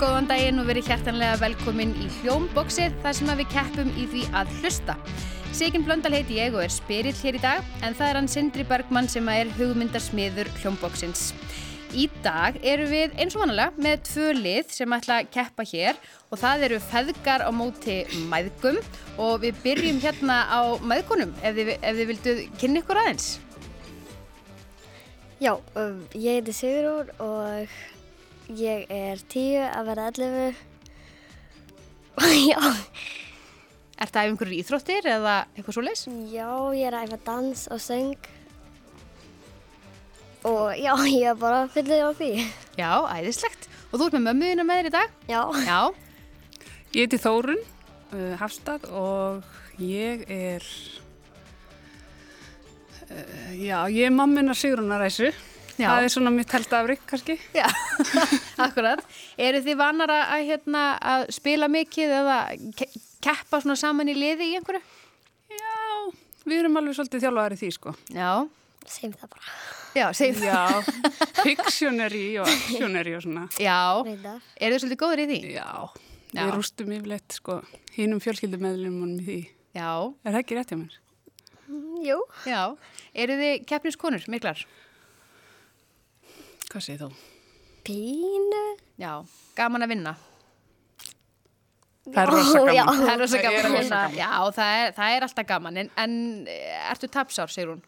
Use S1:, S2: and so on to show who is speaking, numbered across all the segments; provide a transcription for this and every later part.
S1: góðan daginn og verið hjertanlega velkomin í hljómboksið þar sem að við keppum í því að hlusta. Sigin Blöndal heiti ég og er spyrill hér í dag en það er hann Sindri Bergmann sem að er hugmyndarsmiður hljómboksins. Í dag eru við eins og vanalega með tvö lið sem ætla að keppa hér og það eru feðgar á móti mæðgum og við byrjum hérna á mæðgunum ef þið, ef þið vildu kynna ykkur aðeins.
S2: Já, um, ég heiti Sigurún og ég er tíu að vera 11 og já,
S1: Er það einhverjur íþróttir eða eitthvað svo leis?
S2: já, ég er að æfa dans og söng og já, ég er bara fyllið á því.
S1: Já, æðislegt. Og þú ert með mömmuðina með þér í dag?
S2: Já,
S1: Já,
S3: Ég heiti Þórun uh, Hafstad og ég er, uh, já, ég er mammina Sigrunaræsu.
S1: Já.
S3: Það er svona mitt held afrik kannski.
S1: já, akkurat. Eru þið vanar að, að, hérna, að spila mikið eða ke- keppa svona saman í liði í einhverju?
S3: Já, við erum alveg svolítið þjálfaðar í því sko.
S1: Já,
S2: segjum það bara.
S1: já, segjum það.
S3: Já, fictionary og actionary og svona.
S1: Já,
S2: Reyndar.
S1: eru þið svolítið góður í því?
S3: Já,
S1: Já.
S3: við rústum yfirleitt sko hínum fjölskyldumeðlumunum í því.
S1: Já,
S3: Er það ekki rétt hjá mér?
S2: Mm, Jú,
S1: já. Eru þið keppniskonur, miklar?
S3: Hvað segir þú?
S2: pínu.
S1: Já. Gaman að vinna?
S3: Það er rosa
S2: Já,
S3: gaman.
S2: já.
S1: Það er rosa
S3: Það
S1: gaman
S3: er
S1: að
S3: rosa
S1: vinna.
S3: gaman.
S1: Já, það er, það er alltaf gaman. En, en eh, ertu tapsár, segir hún?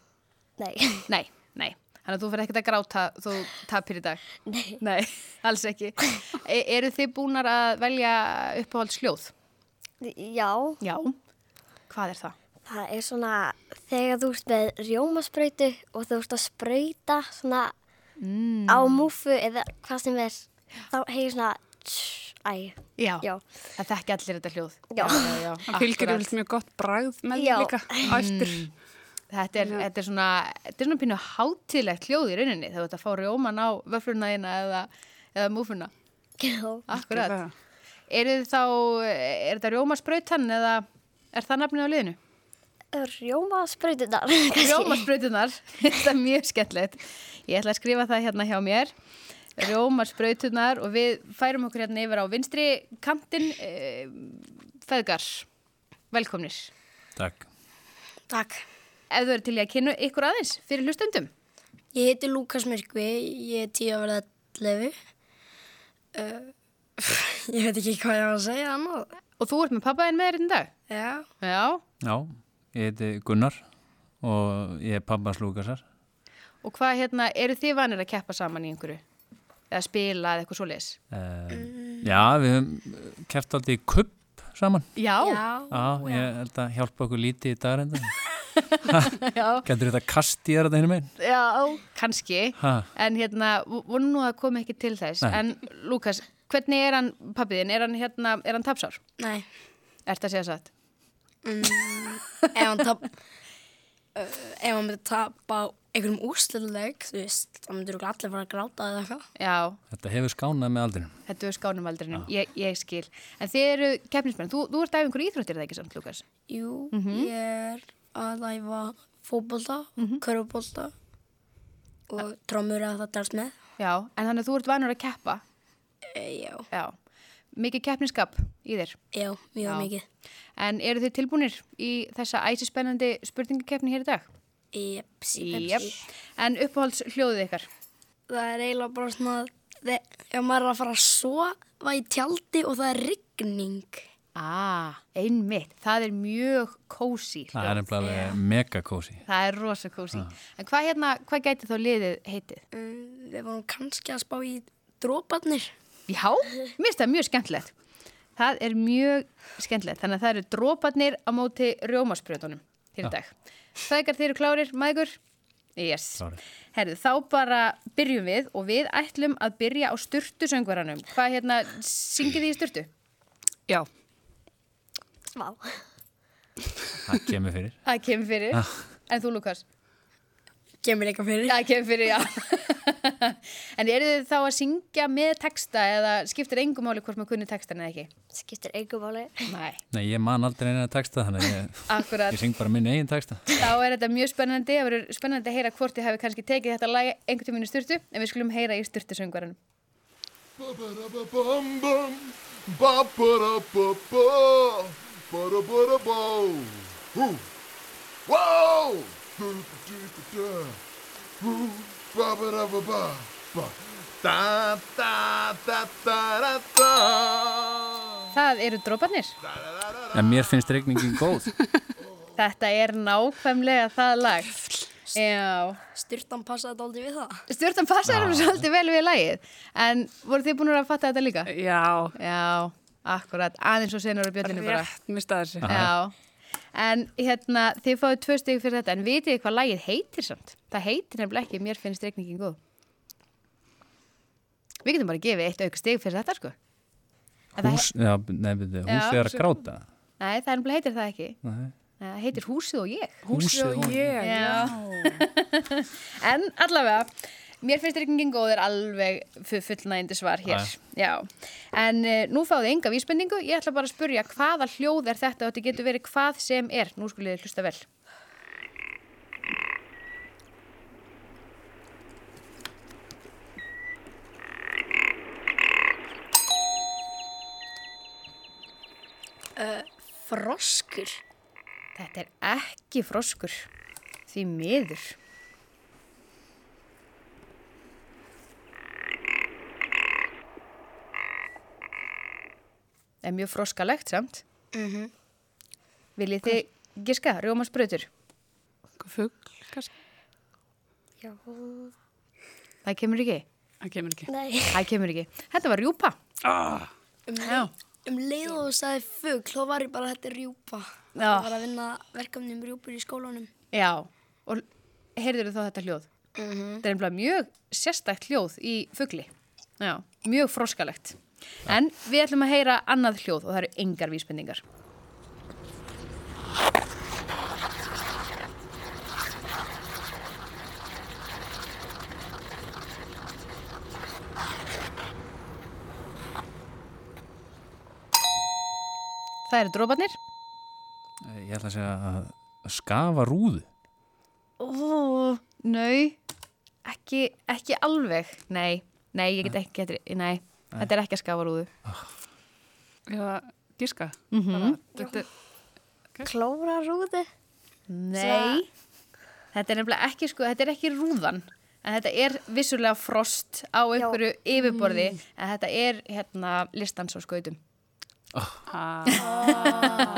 S2: Nei,
S1: Nei, nei. Þannig að þú fyrir ekkert að gráta þú tapir í dag.
S2: nei,
S1: Nei, alls ekki. E, eru þið búnar að velja uppáhalds hljóð?
S2: já,
S1: Já. Hvað er það?
S2: það er svona þegar þú ert með rjómasprautu og þú ert að sprauta svona
S1: Mm.
S2: á múfu eða hvað sem er þá hegir svona tss, æ,
S1: Já.
S2: já,
S1: Það þekki allir þetta hljóð.
S2: Já.
S1: já, já.
S3: Það fylgir
S1: Akkurat.
S3: yfirleitt mjög gott bragð með
S2: Já.
S3: líka á eftir.
S1: Þetta er, þetta er svona, þetta er svona pínu hátilegt hljóð í rauninni þegar þú ert að fá rjóman á vöfluna þína eða, eða múfuna.
S2: já,
S1: Akkurat.
S3: Það-
S1: Eru þið þá, er þetta rjómasprautan eða er það nafnið á liðinu?
S2: rjóma sprautunar
S1: Rjómasprautunar, þetta er mjög skemmtilegt. Ég ætla að skrifa það hérna hjá mér. Rjómasprautunar og við færum okkur hérna yfir á vinstri kantinn eh, feðgar. Velkomnir.
S4: Takk.
S5: Takk.
S1: Ef þú eru til í að kynna ykkur aðeins fyrir hlustendum.
S5: Ég heiti Lúkas Myrkvi, ég er tíu að verða 11. Uh, ég veit ekki hvað ég var að segja annað.
S1: Og þú ert með pappaðin með þér hérna í dag?
S5: Já.
S1: Já.
S4: Já, ég heiti Gunnar og ég er pabbas Lúkasar.
S1: Og hvað hérna, eru þið vanir að keppa saman í einhverju? Eða spila eða eitthvað svoleiðis?
S4: Uh,
S1: Mm.
S4: Já, við höfum kæft alltaf í kupp saman.
S1: Já,
S5: Já.
S4: Já, ég held að hjálpa okkur lítið í dag reynda.
S1: já,
S4: Gætur þetta kast í þér þetta hinn meginn?
S1: já, kannski.
S4: Ha,
S1: En hérna, vo- vonu nú að koma ekki til þess.
S4: Nei.
S1: En Lukas, hvernig er hann pappiðin? Er hann hérna, er hann tapsár?
S5: Nei.
S1: Ert að segja satt?
S5: Ef hann tap... Uh, ef hann myndi tapa einhverjum úrslutuleik, þú veist, þá myndir þú allir fara að gráta eða eitthvað.
S1: Já,
S4: þetta hefur skánað með aldrinum.
S1: þetta er skánum aldrinum, ég, ég skil. En þið eru keppnismenn, þú, þú ert af einhverju íþróttir er það ekki samt, Lukas?
S5: Jú,
S1: Mhm.
S5: ég er að læfa fótbolta, mm
S1: Mhm.
S5: og trómur að það darst með.
S1: Já, en þannig að þú ert vanur að keppa.
S5: E, já.
S1: Já, mikið keppniskap í þér.
S5: Já, mjög
S1: Já.
S5: mikið.
S1: En eru þið tilbúinir í þessa æsispennandi spurningakeppni hér í dag?
S5: Jeps,
S1: Jep. En uppáhalds hljóðið ykkar?
S5: það er eiginlega bara svona þe- ef maður er að fara að sofa í tjaldi og það er rigning
S1: Ah, einmitt. Það er mjög kósi.
S4: Það er Ah. nefnilega alveg mega kósi.
S1: Það er rosa kósi. En hvað hérna, hvað gæti þá liðið heitið?
S5: um, við vorum kannski að spá í dróparnir
S1: Já, mér finnst það mjög skemmtilegt. Það er mjög skemmtilegt. Þannig að það eru droparnir á móti rjómaspröðunum hér í dag. Þegar þeir eru klárir, mægur? Yes.
S4: Klárir.
S1: Herðu, þá bara byrjum við og við ætlum að byrja á styrtusöngvaranum. Hvað hérna, syngið þið í styrtu?
S3: Já,
S2: Vá.
S4: Það kemur fyrir.
S1: Það kemur fyrir. En þú, Lukas?
S5: kemur eitthvað fyrir
S1: Það kemur fyrir, já. en eru þið þá að syngja með texta eða skiptir engum máli hvort maður kunni textan eða ekki?
S2: skiptir einhver máli
S1: Nei.
S4: Nei, ég man aldrei neina texta þannig að ég,
S1: Akkurat.
S4: ég syng bara minn eigin texta.
S1: Þá er þetta mjög spennandi. Það verður spennandi að heyra hvort þið hafi kannski tekið þetta lag einhvern tíminn í styrtu, en við skulum heyra í styrtusöngvaranum. Það eru droparnir.
S4: En mér finnst regningin góð.
S1: Þetta er nákvæmlega það lag. Já,
S5: Styrtan passaði þetta aldrei við það.
S1: stjórnum passaður mér svolítið vel við lagið. En voru þið búin að fatta þetta líka?
S3: Já,
S1: Já, akkurat, aðeins og senur á bjöllinu bara.
S3: rétt mistaði þessi.
S1: Já, en hérna, þið fáið tvö stygg fyrir þetta, en vitið þið hvað lagið heitir samt? Það heitir nefnilega ekki, mér finnst regningin góð. Við getum bara að gefa eitt auka stygg fyrir þetta, sko. En það
S4: Hús, já, nei, við þið,
S1: Já,
S4: húsið er að
S1: svo-
S4: gráta.
S1: Nei, það er nefnilega heitir það ekki.
S4: Nei.
S1: Nei, Það heitir Húsið og ég.
S3: Eh, Húsið og ég,
S1: Já.
S3: já.
S1: En allavega, mér finnst regningin góð er alveg fu- fullnægindi svar hér.
S4: Jæja.
S1: Já. En uh, nú fáðu enga vísbendingu. Ég ætla bara að spurja hvaða hljóð er þetta og þetta getur verið hvað sem er. Nú skulle þið hlusta vel.
S5: Froskur.
S1: Þetta er ekki froskur. Því miður. Það er mjög froskalegt samt. Mm
S5: Mhm.
S1: -hmm. Viljið þið giska, rjómasbrautur?
S3: Fugl, kannski.
S2: Já.
S1: Það kemur ekki.
S3: Það kemur ekki.
S2: Nei.
S1: Það kemur ekki. Þetta var rjúpa.
S3: Ah,
S5: Um,
S3: já,
S5: um leið og þú sagði fugl, þá var ég bara þetta er rjúpa.
S1: Já.
S5: Ég var að vinna verkefni um rjúpur í skólanum.
S1: Já. Og heyrður þú þetta hljóð? Þetta er einhverja mjög sérstækt hljóð í fugli. Já. Mjög froskalegt. En við ætlum að heyra annað hljóð og það eru engar vísbendingar. Það eru dróparnir.
S4: Ég ætla að segja að skafa rúðu.
S1: Ó, nei, ekki, ekki alveg, nei, nei, ég get ekki, getur, nei, þetta er ekki að skafa rúðu.
S3: eða gíska. Bara, þetta,
S2: Klóra rúði.
S1: Nei, þetta er nefnilega ekki, sko, þetta er ekki rúðan, en þetta er vissulega frost á einhverju yfirborði, en þetta er, hérna, listans á skautum. Ah.
S3: að,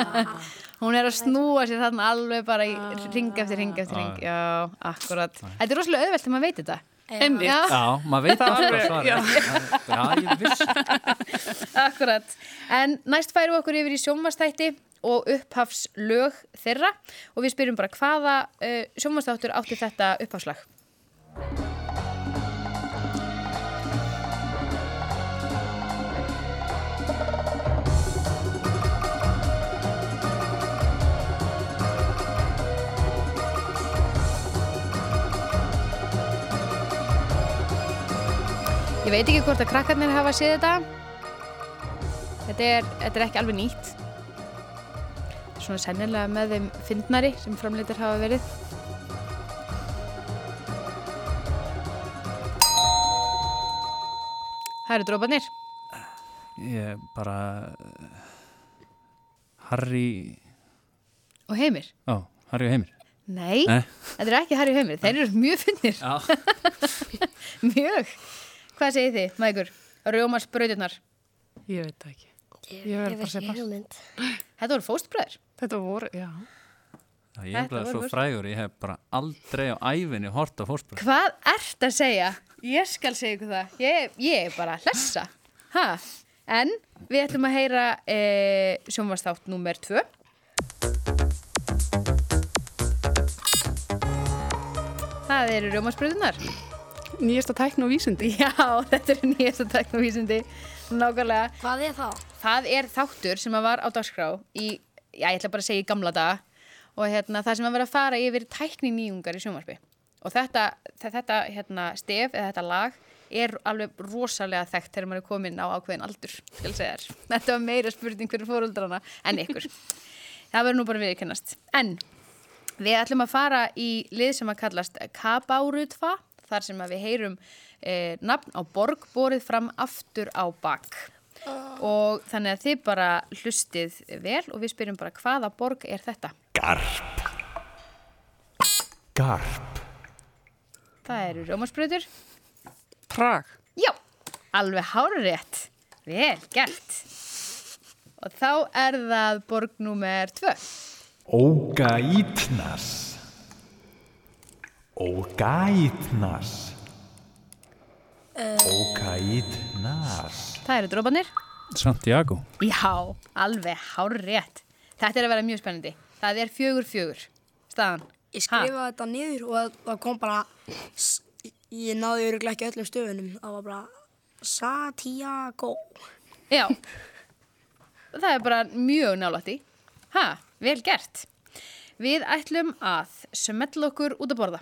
S1: Hún er að snúa sér þarna alveg bara í ring eftir ring eftir ring, já, akkurat. Þetta er rosalega auðvelt þegar maður veit þetta.
S3: einmitt.
S1: Ah. Já.
S4: Já, maður veit
S3: Það
S4: alltaf
S3: alveg,
S4: svarið.
S3: já.
S4: Já. já, ég viss.
S1: Akkurat. En næst færum við okkur yfir í sjónvastætti og upphafslög þeirra og við spyrjum bara hvaða uh, sjónvastáttur átti þetta upphafslag. Ég veit ekki hvort að krakkarnir hafa séð þetta. Þetta er, þetta er ekki alveg nýtt. Þetta er Svona sennilega með þeim fyndnari sem framleitir hafa verið. Það eru drópanir.
S4: Ég bara... eh, Harry...
S1: Og heimir.
S4: Ó, Harry og Heimir.
S1: Nei,
S4: Nei.
S1: þetta er ekki Harry og heimir. Þeir eru mjög fyndnir.
S4: Já.
S1: Mjög. Hvað segir þið, Mægur? Rjómars brautirnar.
S3: Ég veit það ekki. Ég verð bara að segja pass.
S2: hugmynd.
S1: Þetta voru fóstbröður.
S3: Þetta voru, já.
S4: Ég er
S1: Þetta
S4: bara
S1: voru
S4: svo
S1: fórst-
S4: frægur, ég hef bara aldrei á ævinni hort á fórspöld.
S1: Hvað ert að segja? Ég skal segja ykkur það. Ég, ég er bara að hlessa. Ha? En við ætlum að heyra e, sjónvarsþátt númer 2. Það eru rjómasbröðunar.
S3: Nýjasta tækn og vísindi.
S1: Já, þetta eru nýjasta teknovísindi. Nákvæmlega.
S5: Hvað er það?
S1: Það er þáttur sem að var á dagskrá í, já, ég ætla bara að segja í gamla daga og hérna, það sem að vera að fara yfir tækni nýjungar í sjónvarpi og þetta, þe- þetta hérna, stef eða þetta lag er alveg rosalega þekkt þegar maður er komin á ákveðin aldur skal segja þér. Þetta var meira spurning fyrir fóröldrana en ykkur. Það verður nú bara viðkennast. En við ætlum að fara í lið sem að kallast Kabárutfa þar sem að við heyrum eh, nafn á borg borið fram aftur á bak. Og þannig að þið bara hlustið vel og við spyrjum bara hvaða borg er þetta?
S6: Garp Garp
S1: Það eru rjómasbröður.
S3: Prag.
S1: Já, alveg hárurétt. Vel gert. Og þá er það borg númer tvö.
S6: Ógætnas Ógætnas Ógætnas
S1: Það eru drópanir.
S4: Santiago.
S1: Já, alveg hárétt. Þetta er að vera mjög spennandi. Það er fjögur fjögur. Staðan.
S5: Ég skrifaði þetta niður og það- það kom bara, s- ég náði öruglega ekki öllum stöfunum. Það var bara Santiago.
S1: Ha, já. Það er bara mjög nálætt í. Ha, vel gert. Við ætlum að smetla okkur út að borða.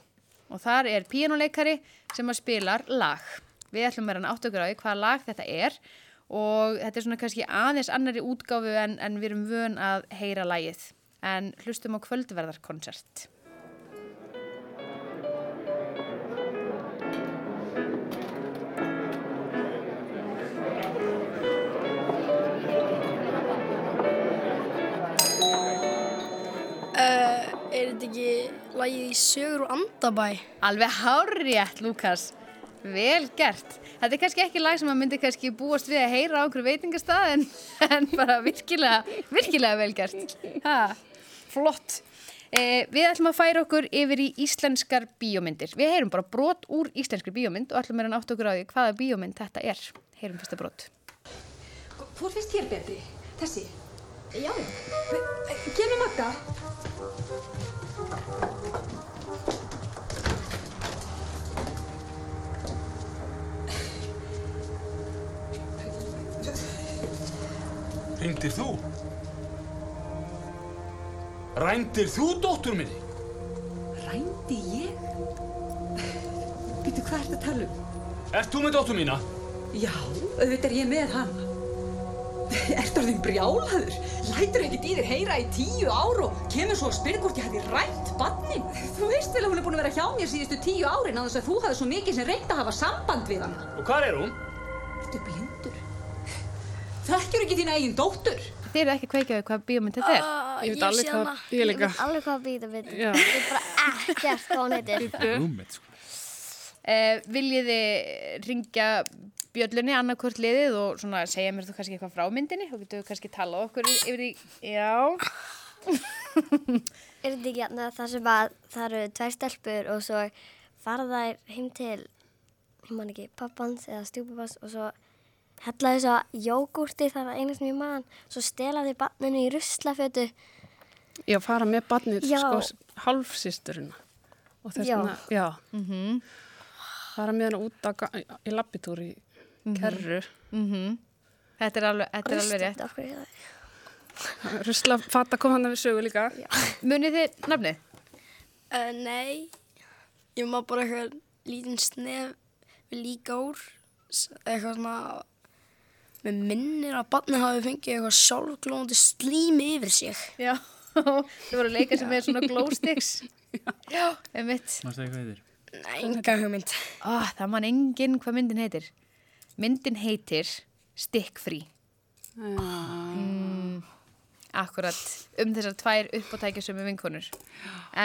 S1: Og þar er píanuleikari sem að spilar lag. Við ætlum að vera að átta okkur á því hvaða lag þetta er og þetta er svona kannski aðeins annari útgáfu en, en við erum vön að heyra lagið. En hlustum á kvöldverðarkonsert.
S5: Er þetta ekki lagið í sögur og andabæ?
S1: Alveg hárétt, Lukas. Vel gert. Þetta er kannski ekki lag sem að myndi kannski búast við að heyra á einhverju veitingastað en, en bara virkilega, virkilega vel gert. Ha, flott. Eh, við ætlum að færa okkur yfir í íslenskar bíómyndir. Við heyrum bara brot úr íslenskri bíómynd og ætlum að reyna átt okkur á því hvaða bíómynd þetta er. Heyrum fyrsta brot.
S7: Hvor finnst þér betri? Þessi? Já. Gefum Magda.
S8: Ringdir þú? Rændir þú dóttur minni?
S7: Rændi ég? Býtu, hvað ertu að tala um?
S8: Ert þú með dóttur mína?
S7: Já, auðvitað er ég með hann. Ertu orðin brjálaður? Lætur ekkert í þér heyra í tíu ár og kemur svo að spyrja hvort ég hafi rænt bannin. Þú veist vel að hún er búin að vera hjá mér síðustu tíu árin að þess að þú hafði svo mikið sem reynd að hafa samband við hann.
S8: Og hvar er hún?
S7: Ertu blindur? Þekkjur ekki þína eigin dóttur?
S1: Þið eru ekki að kveikja á því hvaða bíómynd þetta er.
S5: Ah,
S3: Ég veit alveg
S5: sé
S3: hvað-
S5: hana.
S3: Ég
S2: Ég
S3: líka.
S2: veit alveg hvað býta betur.
S3: Já.
S2: Ég veit bara ekkert hvað hún heitir.
S4: Rúmið, sko.
S1: Eh, viljið þið ringja bjöllunni annarkvort liðið og svona segja mér þú kannski eitthvað frá myndinni og getur kannski talað okkur í- yfir í já,
S2: Er þetta ekki hérna þar sem að það eru tvær stelpur og svo fara þær heim til, ég man ekki, pappans eða stjúpapans og svo hella þess að jógúrti þar að eina sem ég man, svo stela þau barninu í ruslafötu.
S3: Já, fara með barnið,
S2: Já.
S3: sko, halfsýsturina. Og þess
S2: Já.
S3: vegna, já. Mhm. Fara með hana út á, ga- í lappitúr í kerru.
S1: þetta er alveg, þetta er alveg rétt
S2: okkur í það.
S3: Rusla fata kom hann við sögu líka.
S1: munið þið nafnið?
S5: Uh, nei, ég má bara eitthvað lítinn snef við líka úr. s- Eitthvað svona, með minnir að barnið hafi fengið eitthvað sjálfglóðandi slími yfir sig.
S1: Já, þið voru að leika sem er svona glow sticks já, einmitt
S4: Mástu eitthvað yfir?
S5: Nei, enga hugmynd.
S1: oh, það man enginn hvað myndin heitir myndin heitir stikkfrí mm, akkurat um þessar tvær uppátækjasömu vinkonur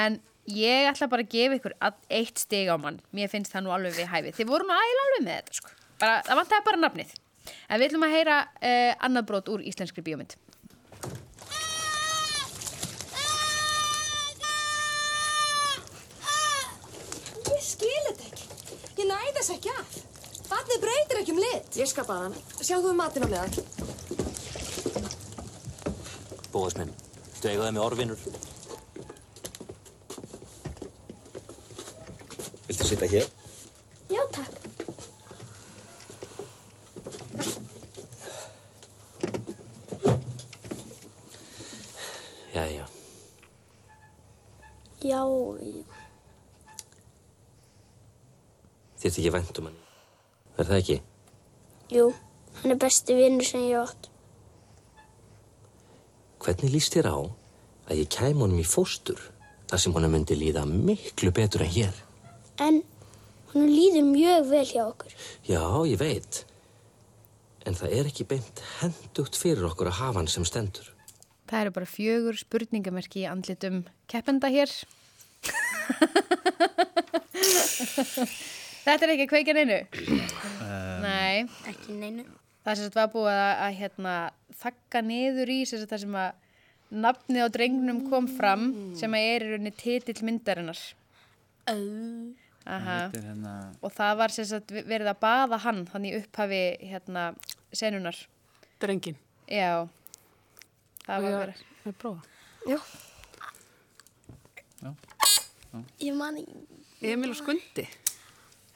S1: en ég ætla bara að gefa ykkur að eitt stig á mann mér finnst það nú alveg við hæfi þið voru nú ægilega alveg með þetta sko. bara, það vantaði bara nafnið en við ætlum að heyra uh, annað brot úr íslenskri bíómynd
S7: Ég skil þetta ekki. Ég næði þess ekki að. Barnið breytir ekki um lit. Ég skal bara hann. Sjáðu um matinn á meðan.
S9: Bóðis minn, viltu eiga það með orfinur? Viltu sitja hér?
S2: Já, takk.
S9: Jæja,
S2: Já,
S9: þér þykir vænt um hann. Er það ekki?
S2: jú, hann er besti vinnur sem ég átt.
S9: Hvernig líst þér á að ég kæm honum í fóstur þar sem honum myndi líða miklu betur en hér?
S2: En
S10: Hún líður mjög vel hjá okkur.
S9: Já, ég veit. En það er ekki beint hendugt fyrir okkur að hafa hann sem stendur.
S1: Það eru bara fjögur spurningamerki í andlitum keppenda hér. Þetta er ekki að kveika neinu. Nei.
S5: Ekki neinu.
S1: Það sem þetta var búið að, að hérna, þakka niður í sem þetta sem að nafnið á drengnum kom fram sem að er í rauninni titill myndarinnar.
S5: Au.
S1: Aha.
S4: Þetta er hérna...
S1: Og það var sem sagt verið að baða hann þannig í upphafi hérna, senunar.
S3: Drengin.
S1: Já. Það var verið.
S3: Við prófa.
S2: Já.
S5: Ég man ekki.
S3: Emil og Skundi.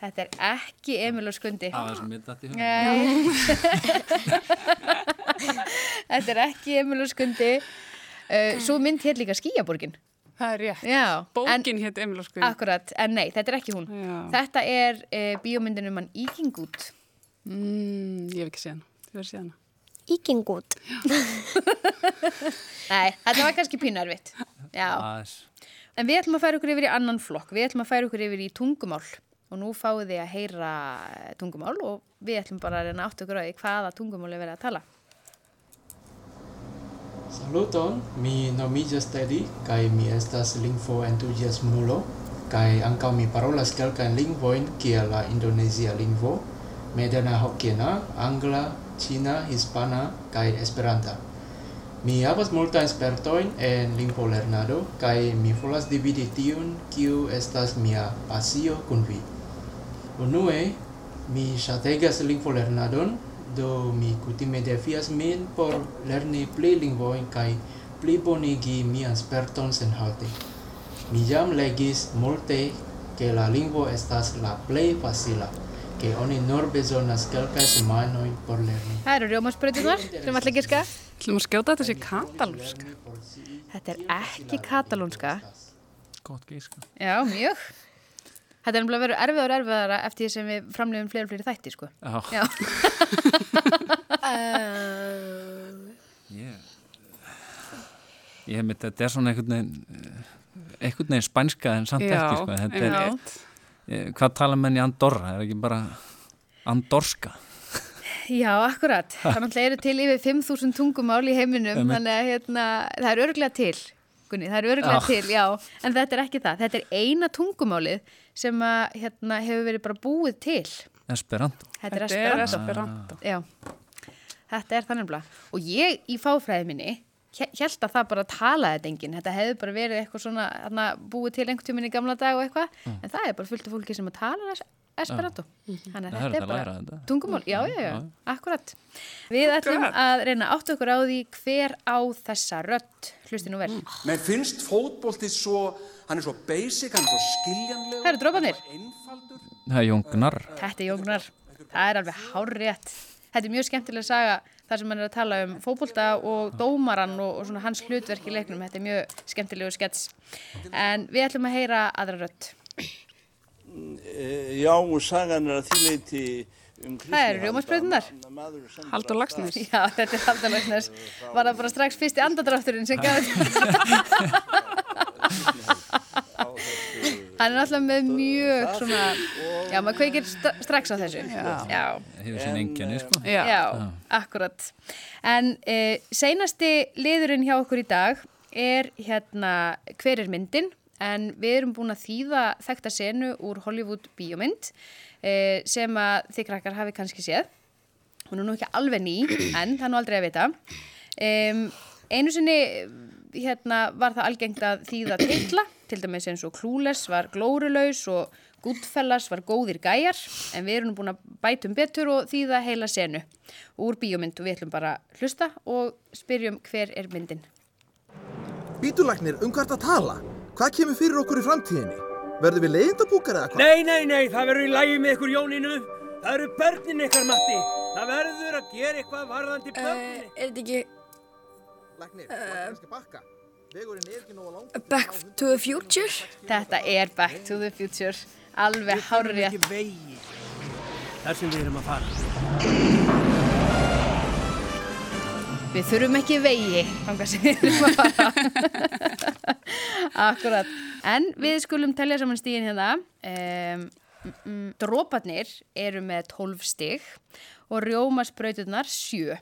S1: Þetta er ekki Emil og Skundi.
S4: Það var sem mér datt í hug.
S1: Nei. Þetta er ekki Emil og Skundi. Uh, svo mynd hér líka Skíaborgin.
S3: Það er rétt.
S1: Já.
S3: Bókin hétt Emil og
S1: En,
S3: Skundi.
S1: akkurat, en nei, þetta er ekki hún.
S3: Já.
S1: Þetta er uh, bíómyndin um hann Íkingút.
S3: Mm, ég hef ekki séð hana. Ég verð séð hana.
S2: Íkingút.
S1: Nei, þetta var kannski pínarvitt. Já.
S4: Aðeins.
S1: En við ætlum að færa ykkur yfir í annan flokk. Við ætlum að færa ykkur yfir í tungumál. Og nú fáið þið að heyra eh, tungumál og við ætlum bara að reyna átt ykkur á því hvaða tungumál er verið að tala.
S11: Saluton, mi nomiĝas Teddy kaj mi estas lingvo entuziasmulo kaj ankaŭ mi parolas kelkajn lingvojn kiel la indonezia lingvo, medena hokkiena, angla, ĉina, hispana kaj esperanta. Mi havas multajn spertojn en lingvolernado kaj mi volas dividi tiun kiu estas mia pasio kun vi. Unue, mi ŝategas lingvolernadon, do mi kutime defias min por lerni pli lingvojn kaj plibonigi mian sperton senhalte. Mi jam legis multe ke la lingvo estas la plej facila, ke oni nur bezonas kelkaj semajnojn por lerni.
S1: Það eru rjómaspröðunar sem ætla að giska.
S3: Ætlum að skjóta þetta sé katalúska.
S1: Þetta er ekki katalónska.
S4: Gott gíska.
S1: Já, mjög. Þetta er nefnilega að vera erfiðar og erfiðara eftir því sem við framlegum fleiri og fleiri þætti, sko.
S4: Já.
S1: Já.
S5: Uh,
S4: Ég, ég hef mitt, þetta er svona einhvern veginn, eh, einhvern veginn spænska en samt ekki, sko. Þetta er,
S3: einmitt.
S4: eh, hvað tala menn í Andorra? Er ekki bara Andorska?
S1: Já, akkurat. Það náttúrulega eru til yfir 5.000 tungumál í heiminum,
S4: Einmitt.
S1: þannig að hérna, það er örglega til, Gunni, það er örglega
S4: Já.
S1: til, já. En þetta er ekki það. Þetta er eina tungumálið sem að, hérna, hefur verið bara búið til.
S4: Esperanto.
S1: Þetta er
S3: Þetta er
S1: esperanto.
S3: esperanto.
S1: Já, þetta er þannig blað. Og ég í fáfræði minni held að það bara talaði þetta enginn. Þetta hefði bara verið eitthvað svona hana, búið til einhvern tíminn í gamla dag og eitthvað.
S4: Mm.
S1: En það er bara fullt af fólki sem að tala es- esperanto. Þannig
S4: Það
S1: að
S4: er
S1: þetta er
S4: hægt að læra
S1: bara
S4: þetta.
S1: tungumál. Já, já, já, akkurat. Við ætlum að reyna að átta okkur á því hver á þessa rödd. Hlusti nú vel.
S12: Mm.
S13: Menn finnst fótbolti svo, hann er svo basic, hann er svo skiljanlegur.
S1: Það eru droparnir.
S4: Það er Jóngnar.
S1: Þetta er Jógnar. Það er alveg hárrétt. Þetta er mjög skemmtileg saga þar sem hann er að tala um fótbolta og dómaran og, og svona hans hlutverk í leiknum. Þetta er mjög skemmtilegu skets. En við ætlum að heyra aðra rödd.
S14: Eh, Já, og sagan er að því leyti um Kristi
S1: Það eru rjómasbrautirnar.
S3: Haldur Lagsnes.
S1: Já, þetta er Haldur Lagsnes. Var það bara strax fyrst í andadrátturinn sem gaf þetta. Hann er alltaf með mjög svona, já, maður kveikir stra- strax á þessu.
S4: Já.
S1: já.
S4: Hefur sín enginni, sko.
S1: Já, akkurat. En uh, seinasti liðurinn hjá okkur í dag er hérna hver er myndin en við erum búin að þýða þekta senu úr Hollywood bíómynd uh, sem að þið krakkar hafi kannski séð. Hún er nú ekki alveg ný en það er nú aldrei að vita. Um, einu sinni eh, hérna, var það algengt að þýða titla, til dæmis eins og Clueless var glórulaus og Goodfellas var góðir gæjar, en við erum nú búin að bætum betur og þýða heila senu úr bíómynd og við ætlum bara að hlusta og spyrjum hver er myndin.
S15: Bítulagnir, um hvert að tala? Hvað kemur fyrir okkur í framtíðinni? Verðum við leiðindabúkar eða hvað?
S12: Nei, nei, nei, það verður í lægi með ykkur Jónínu. Það eru börnin ykkar, Matti. Það verður að gera eitthvað varðandi
S5: Eh,
S12: börnin.
S5: Er þetta ekki
S15: Lagnir, uh, kannski bakka. Vegurinn er ekki nógu langt.
S5: Back to the Future?
S1: Þetta er Back to the Future, alveg hárrið.
S12: vegi. Þar sem við erum að fara.
S1: Við þurfum ekki vegi, þangar sem við erum að fara. Akkurat. En við skulum telja saman stíðin hérna. Um, Dróparnir eru með 12 stig og rjómasbrauturnar 7.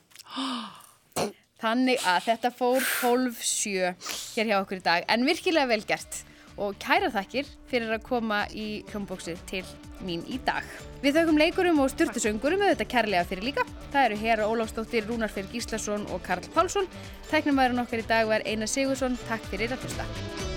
S1: Þannig að þetta fór 12-7 hér hjá okkur í dag, en virkilega vel gert. Og kæra þakkir fyrir að koma í hljómbóksið til mín í dag. Við þaukum leikurum og styrtusöngurum auðvitað kærlega fyrir líka. Það eru Hera Ólafsdóttir, Rúnar Fyrir Gíslason og Karl Pálsson. Tæknumæðurinn okkar í dag var Einar Sigursson. Takk fyrir að hlusta.